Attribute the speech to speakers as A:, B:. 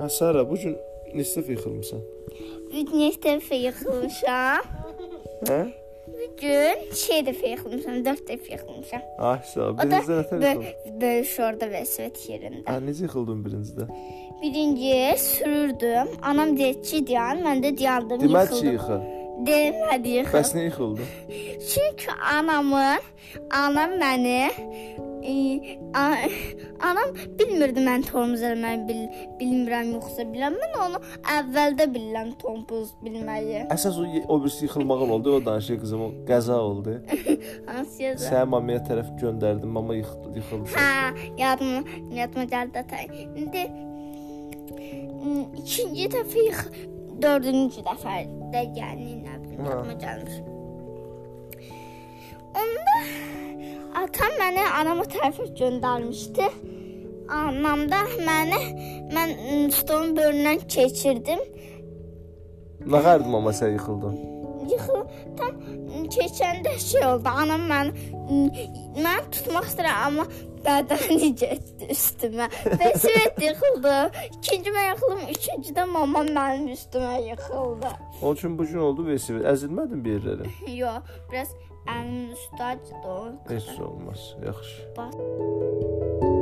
A: Hə Sara, bu gün neçə dəfə yıxılmısan?
B: Bir neçə dəfə yıxılmışam.
A: Hə?
B: Bu gün 2 dəfə yıxılmışam, 4 dəfə yıxılmışam.
A: Ay Ah, Sara,
B: O da
A: birinci dəfə yıxıldın.
B: bö- böyük orada vəsvət yerində.
A: Hə, necə yıxıldın birincidə?
B: Birinci sürürdüm. Anam dedi ki, dayan. Mən də dayandım,
A: Demək ki,
B: yıxıldım.
A: yıxıl.
B: Demədi yıxıldım.
A: Bəs niyə yıxıldın?
B: Çünki anamın, anam məni e, a- anam bilmirdi mən tormuz eləməyi bil, bilmirəm yoxsa bilirəm. Mən onu əvvəldə bilirəm tormuz bilməyi.
A: Əsas o, o birisi yıxılmağın oldu, o danışır qızım, o qəza oldu.
B: Hansı yazı?
A: Səni mamaya tərəf göndərdim, mama yıxıldı, yıxıldı.
B: Hə, yadıma, yadıma gəldi atay. İndi m, hmm, ikinci dəfə yıx, dördüncü dəfə də yəni nə bilim
A: Hə.
B: yadıma gəlmir. Onda atam məni anama tərəfə göndərmişdi. Anam da məni mən m, stolun böyründən keçirdim.
A: Nə qardı mama sən yıxıldın?
B: Yıxıl tam m, keçəndə şey oldu. Anam məni m, mən tutmaq istəyir amma bədəni getdi üstümə. Vəsiyyət yıxıldı. İkinci mən yıxıldım, üçüncüdə mamam mənim üstümə yıxıldı.
A: Onun üçün bu gün oldu vesivet. Əzilmədin bir yerlərə?
B: Yox, biraz əlimin üstü acıdı. o qədər.
A: Heç olmaz. Yaxşı.
B: Bas.